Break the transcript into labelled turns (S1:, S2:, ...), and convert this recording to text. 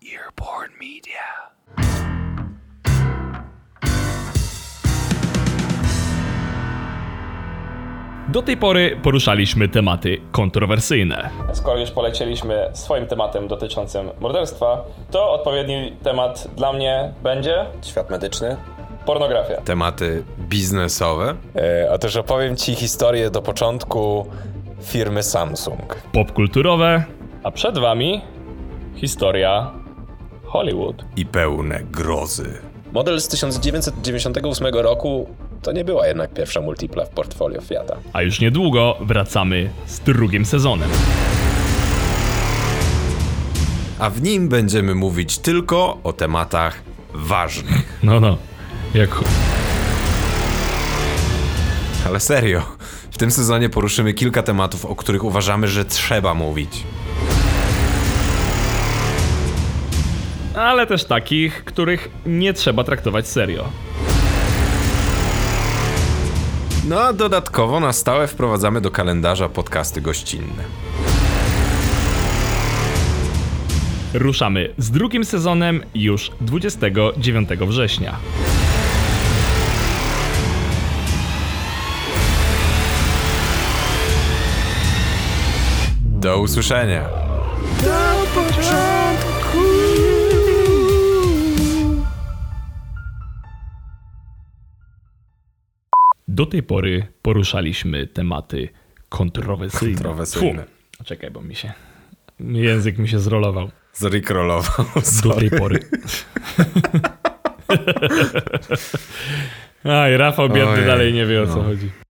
S1: Dearborn Media.
S2: Do tej pory poruszaliśmy tematy kontrowersyjne.
S3: Skoro już polecieliśmy swoim tematem dotyczącym morderstwa, to odpowiedni temat dla mnie będzie
S4: Świat medyczny.
S3: pornografia.
S5: Tematy biznesowe.
S4: E, a też opowiem Ci historię do początku firmy Samsung.
S2: Popkulturowe,
S3: A przed wami historia Hollywood.
S5: i pełne grozy.
S4: Model z 1998 roku to nie była jednak pierwsza multipla w portfolio Fiata.
S2: a już niedługo wracamy z drugim sezonem.
S5: A w nim będziemy mówić tylko o tematach ważnych.
S2: No, no, jak chuj.
S5: Ale serio, w tym sezonie poruszymy kilka tematów, o których uważamy, że trzeba mówić.
S2: Ale też takich, których nie trzeba traktować serio.
S5: No a dodatkowo na stałe wprowadzamy do kalendarza podcasty gościnne.
S2: Ruszamy z drugim sezonem już 29 września.
S5: Do usłyszenia!
S2: Do tej pory poruszaliśmy tematy kontrowersyjne.
S5: Kontrowersyjne.
S2: Fu. Czekaj, bo mi się. Język mi się zrolował.
S5: Zrikrolował.
S2: Do tej pory. Aj, Rafał biedny
S5: Ojej,
S2: dalej nie wie o co
S5: no.
S2: chodzi.